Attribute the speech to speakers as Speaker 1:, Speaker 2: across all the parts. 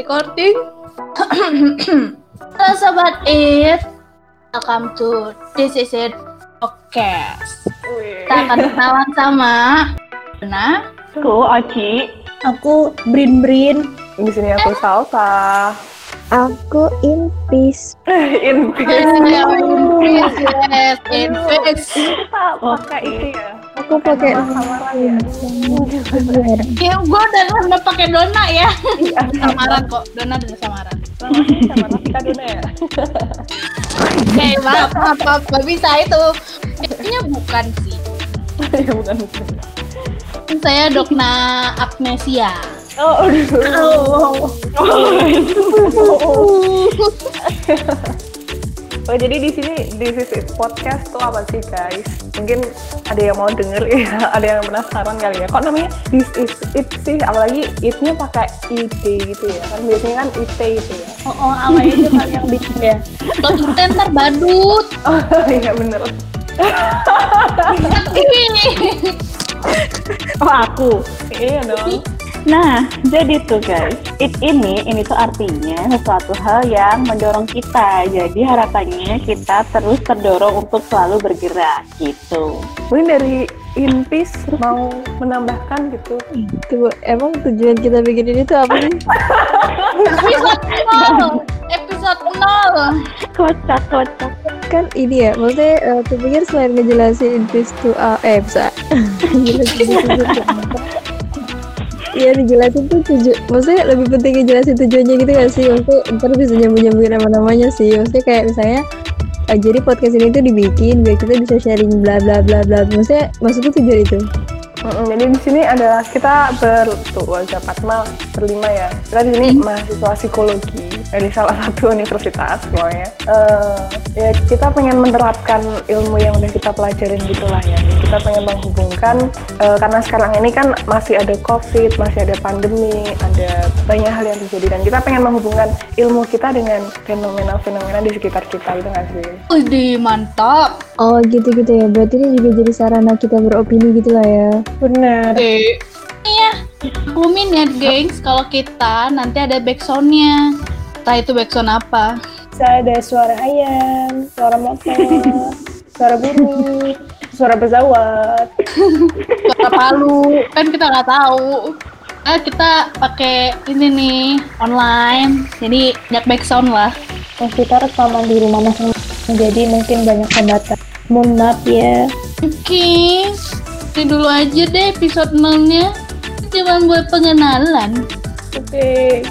Speaker 1: Recording. Halo sobat it, welcome to This Is It Podcast. Kita akan kenalan sama Nah,
Speaker 2: Aku Oci.
Speaker 3: Aku Brin Brin.
Speaker 2: Di sini aku Salsa.
Speaker 3: Aku Intis.
Speaker 2: Invis.
Speaker 1: Invest.
Speaker 2: Kita pakai itu ya.
Speaker 3: Aku pakai
Speaker 2: Samaran ya.
Speaker 3: bener.
Speaker 1: Ya, gue dan Randa pakai dona ya. Samaran kok, dona dan samaran.
Speaker 2: Sama Nafika Dona ya.
Speaker 1: Oke, maaf, maaf, maaf, gak bisa itu. Kayaknya bukan sih.
Speaker 2: Ya bukan bukan.
Speaker 1: Saya Dokna Agnesia.
Speaker 2: Oh, aduh.
Speaker 1: Uh.
Speaker 2: Oh, jadi di sini di sisi podcast tuh apa sih guys? Mungkin ada yang mau denger ya, ada yang penasaran kali ya. Kok namanya this is it sih? Apalagi it-nya pakai it gitu ya. Kan biasanya kan it itu ya.
Speaker 3: Oh, oh awalnya itu kan yang bikin ya.
Speaker 1: Kalau kita ntar badut.
Speaker 2: Oh, iya bener.
Speaker 3: Oh aku.
Speaker 2: Iya dong.
Speaker 3: Nah, jadi tuh guys, it ini ini tuh artinya sesuatu hal yang mendorong kita. Jadi harapannya kita terus terdorong untuk selalu bergerak gitu.
Speaker 2: Mungkin dari Inpis mau menambahkan gitu.
Speaker 4: Tuh, emang tujuan kita bikin ini tuh apa sih?
Speaker 1: Episode 0. Episode 0.
Speaker 3: Kocak kocak.
Speaker 4: Kan ini ya, maksudnya eh, aku pikir selain ngejelasin this to uh, eh bisa. Ngejelasin this to apa. Iya dijelasin tuh tujuan, maksudnya lebih penting ngejelasin tujuannya gitu gak sih? Maksudnya ntar bisa nyambung-nyambungin sama namanya sih Maksudnya kayak misalnya eh, jadi podcast ini tuh dibikin biar kita bisa sharing bla bla bla bla. Maksudnya maksudnya tujuan itu.
Speaker 2: Mm-mm, jadi di sini ada kita ber tuh ada Patma berlima ya. Kita di sini mahasiswa psikologi dari salah satu universitas pokoknya. Eh, ya kita pengen menerapkan ilmu yang udah kita pelajarin gitulah ya. Kita pengen menghubungkan eh, karena sekarang ini kan masih ada covid, masih ada pandemi, ada banyak hal yang terjadi dan kita pengen menghubungkan ilmu kita dengan fenomena-fenomena di sekitar kita gitu nggak sih?
Speaker 1: Wih, mantap.
Speaker 4: Oh gitu-gitu ya, berarti ini juga jadi sarana kita beropini gitu lah ya
Speaker 2: Bener.
Speaker 1: Iya. Kumin ya, gengs. Kalau kita nanti ada backsoundnya. Entah itu backsound apa.
Speaker 5: Saya ada suara ayam, suara motor, suara burung, suara pesawat.
Speaker 1: Suara palu. Kan kita nggak tahu. Nah, kita pakai ini nih online jadi banyak backsound lah
Speaker 5: Nah, kita rekaman di rumah masing-masing, jadi mungkin banyak hambatan. Mohon maaf ya.
Speaker 1: oke ini dulu aja deh episode 0 nya cuma buat pengenalan
Speaker 5: Oke.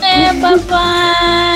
Speaker 1: eh bye bye